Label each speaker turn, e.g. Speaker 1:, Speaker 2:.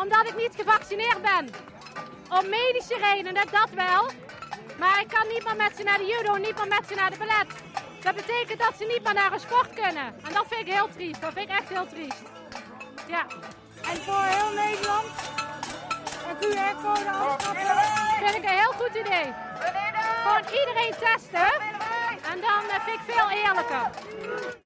Speaker 1: Omdat ik niet gevaccineerd ben. Om medische redenen, dat wel. Maar ik kan niet meer met ze naar de judo, niet meer met ze naar de ballet. Dat betekent dat ze niet meer naar een sport kunnen. En dat vind ik heel triest. Dat vind ik echt heel triest. Ja.
Speaker 2: En voor heel Nederland een QR-code afschaffen.
Speaker 1: Vind ik een heel goed idee. Gewoon iedereen testen. En dan eh, vind ik veel eerlijker.